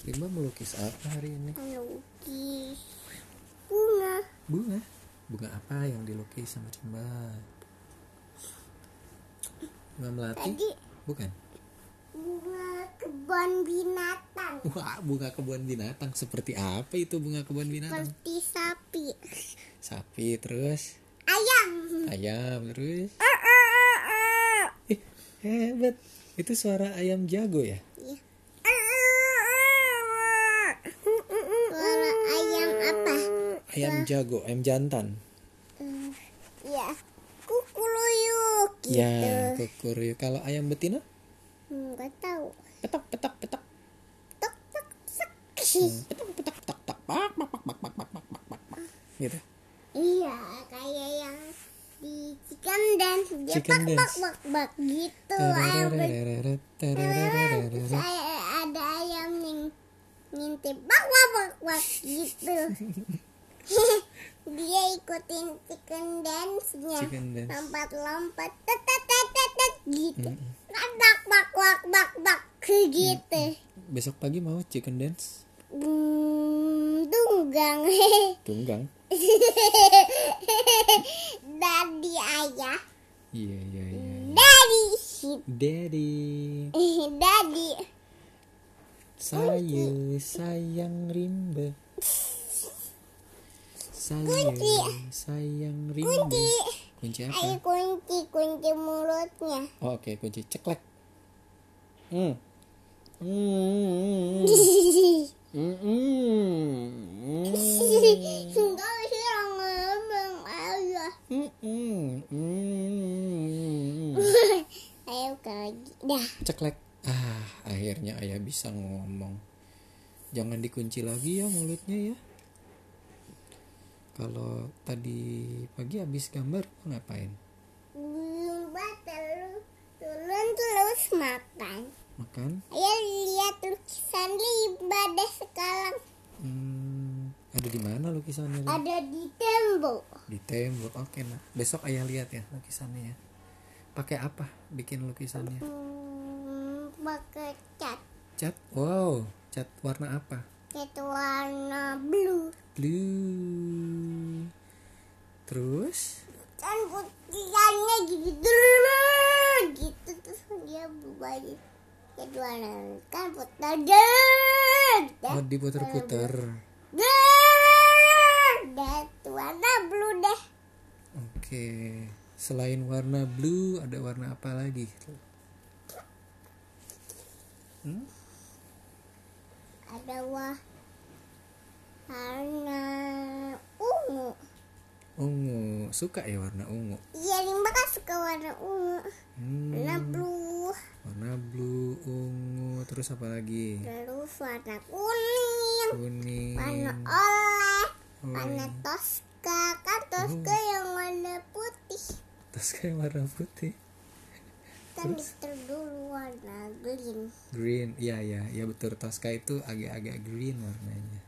Rima melukis apa hari ini? melukis bunga Bunga. Bunga apa yang dilukis sama Rima? Bunga melati? tadi Bukan. bunga kebun binatang Wah, bunga kebun binatang. Seperti apa itu bunga kebun binatang? seperti sapi Sapi terus, ayam ayam terus. Ih, hebat. Itu suara ayam jago ya? Iya. suara ayam apa Iya. Ayam jago, ayam jantan. ya kukuluyuk gitu Ya, kukuruyu. Kalau ayam betina? nggak tahu Petak, petak, petak. tok tok sok Petak, petak, petak, petak. Pak, pak, pak, pak, pak, pak, pak, pak, pak, pak. Gitu. iya kayak yang di chicken dance dia Chicken bak, bak dance. Iya, bak bak gitu ayam ber- Terereret, terereret, Terus terereret. saya ada ayam yang ngintip bak bak bak bak gitu dia ikutin chicken dance nya Chicken dance. lompat lompat tet tet tet tet, tet, gitu Kan bak bak bak bak bak ke gitu Besok pagi mau chicken dance? hmm, tunggang Tunggang. dari ayah Iya, iya, iya. dari Daddy, dari saya sayang rimba. Saya sayang rimba. kunci Kunci ayo apa? kunci kunci mulutnya Oh, oke, kunci ceklek. Hmm. Hmm. Hmm. Hmm. Enggak sih orang ngomong aja. Hmm, hmm, hmm. Ayo ke lagi. Dah. Ceklek. Ah, akhirnya ayah bisa ngomong. Jangan dikunci lagi ya mulutnya ya. Kalau tadi pagi habis gambar lu ngapain? Lumba terus turun terus makan. Makan? Ayo lihat lukisan Limba deh sekarang. Hmm, ada di mana lukisannya? Lu? Ada di tembok. Di tembok. Oke, nah. besok ayah lihat ya lukisannya ya. Pakai apa bikin lukisannya? Hmm, pakai cat. Cat. Wow, cat warna apa? Cat warna blue. Blue. Terus? Dan putihannya gitu. Gitu terus dia berubah jadi cat warna kan putar. Gitu. Oh, diputer-puter. Dan warna blue deh. Oke, selain warna blue ada warna apa lagi? Hmm? Ada wa- warna ungu. Ungu, suka ya warna ungu. Iya, Limba kan suka warna ungu. Hmm, Warna blue, warna blue, ungu, terus apa lagi? terus warna kuning, Hmm. Kuning. warna oles, Oh, warna toska. Kan toska yang warna putih. Terus kayak warna putih. Kan mister dulu warna green. Green, iya ya, ya betul. Tosca itu agak-agak green warnanya.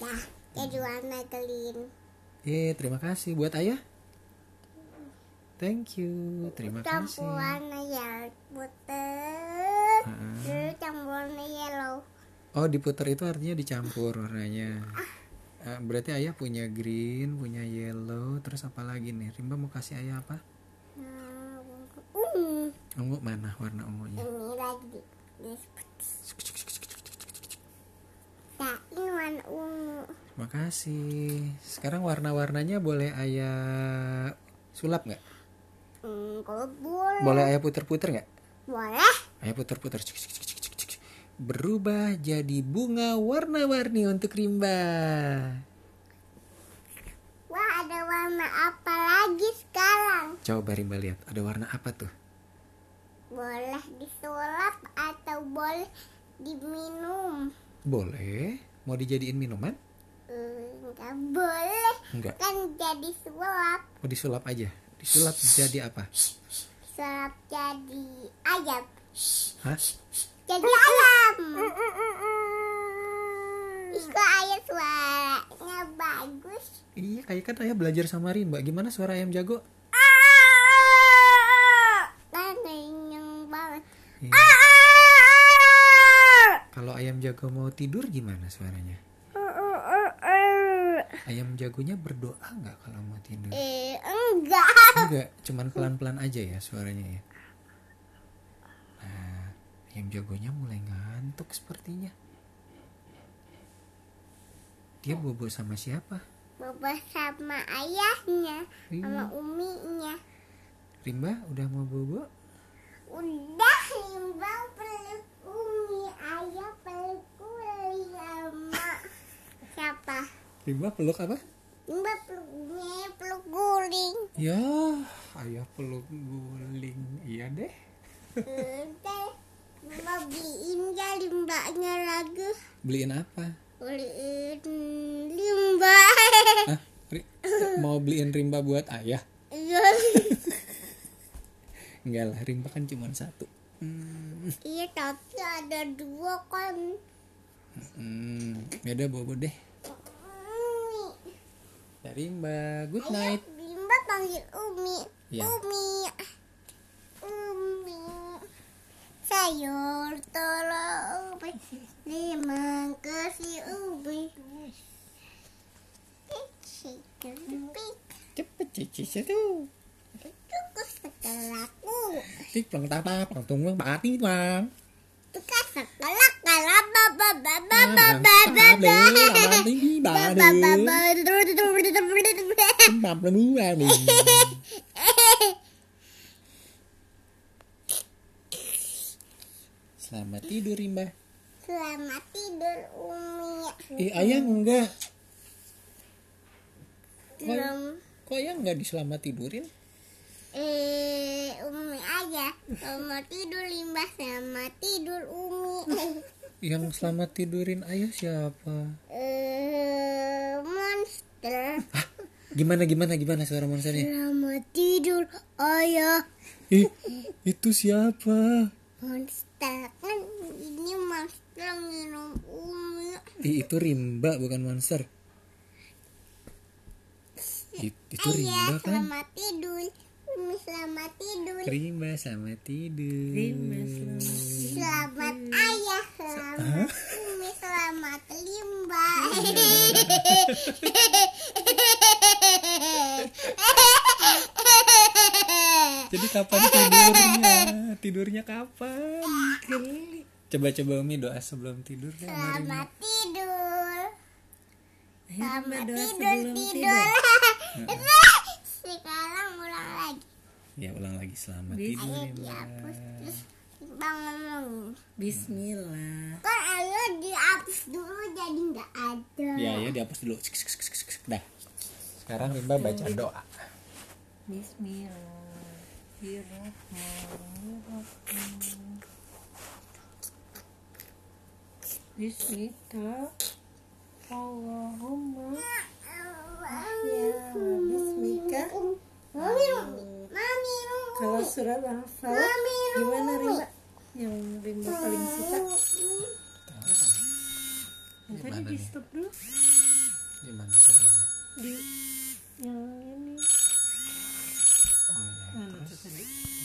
Nah, jadi warna green. Eh, terima kasih buat ayah. Thank you, terima campur kasih. warna yang putih Heeh. terus campur warna yellow Oh, diputer itu artinya dicampur warnanya. Eh, berarti ayah punya green, punya yellow, terus apa lagi nih? Rimba mau kasih ayah apa? nah, ungu Ungu mana warna ungunya? ini lagi ini seperti nah ini warna ungu Makasih. Sekarang warna-warnanya boleh ayah sulap nggak? hmm, kalau boleh Boleh ayah puter-puter nggak? boleh Ayah puter-puter. Cik, cik, cik, cik, cik, cik. Berubah jadi bunga warna-warni untuk Rimba. wah ada warna apa lagi sekarang Coba Rimba lihat, ada warna apa tuh? boleh disulap atau boleh diminum Boleh. Mau dijadiin minuman? Hmm, nggak boleh Enggak. kan jadi sulap Oh disulap aja. Disulap jadi apa? sulap jadi ayam Hah? jadi ayam. Ih, kok ayam suaranya bagus. Iya, kayak kan ayah belajar sama Rimba. Gimana suara ayam jago? Kan kenyang banget. Iya. Kalau ayam jago mau tidur gimana suaranya? Ayam jagonya berdoa nggak kalau mau tidur? Eh, enggak. Enggak, cuman pelan-pelan aja ya suaranya ya. Nah, ayam jagonya mulai ngantuk sepertinya. Dia bobo sama siapa? Bapak sama ayahnya, Iya. sama uminya. Rimba udah mau bobo? Udah limbang peluk umi, ayah peluk uli sama siapa? Rimba peluk apa? Limbang peluk umi, peluk guling. Ya, ayah peluk guling. Iya deh. Nanti Mbak beliin ya limbaknya lagi. Beliin apa? Beliin limbak. Hah? Ri- mau beliin rimba buat ayah? Iya, Enggak lah, rimba kan cuma satu. Hmm, iya tapi ada dua kan. hmm. Ya udah bobo deh. Umi. Ya, rimba, good Ayah night. Iya, Bimba panggil Umi. Ya. Umi. Umi. Sayur tolong Umi. Lima kasih Umi. Picik, picik. Cepet cici situ. Itu kesekelaku. Tik plong tapa plong tunggung pati bang. Itu kesekelak. Kalau baba baba Bang, baba bang, baba. bang, bang, tinggi, bang, Baba bang. baba. Bang, bang, bang, bang. Selamat tidur Rimba. Selamat tidur Umi. Eh ayah enggak. Belum. Kok ayah enggak diselamat tidurin? Eh, Umi aja. Kalau mau tidur limbah sama tidur Umi. Yang selamat tidurin ayah siapa? Eh, monster. Gimana gimana gimana suara monsternya? Selamat tidur ayah. Ih, itu siapa? Monster kan ini monster minum Umi. Ih, itu Rimba bukan monster. It- itu Ayah, Rimba kan? selamat tidur. Umi selamat tidur. Rimba sama tidur. Selamat ayah, selamat Umi, selamat limbah. Iya. Jadi kapan tidurnya? Tidurnya kapan? Geli. Coba-coba Umi doa sebelum tidur deh. Selamat tidur. Selamat tidur, sebelum tidur. Sekarang ulang lagi. Ya ulang lagi selamat tidur. Ayo Rimba. dihapus terus kita ngomong. Bismillah. Kan ayo dihapus dulu jadi nggak ada. Ya ya dihapus dulu. Sik, sik, sik, sik, sik. Dah. Sekarang Rimba baca doa. Bismillahirrahmanirrahim. Ya, Bismika Allahumma ya Bismika. Mami, mami, mami. Kalau surat Al-Falaq Mami, gimana Rimba? Yang Rimba paling suka? Tadi di stop dulu Gimana caranya? di yang ini. Oh ya. Mana tuh tadi?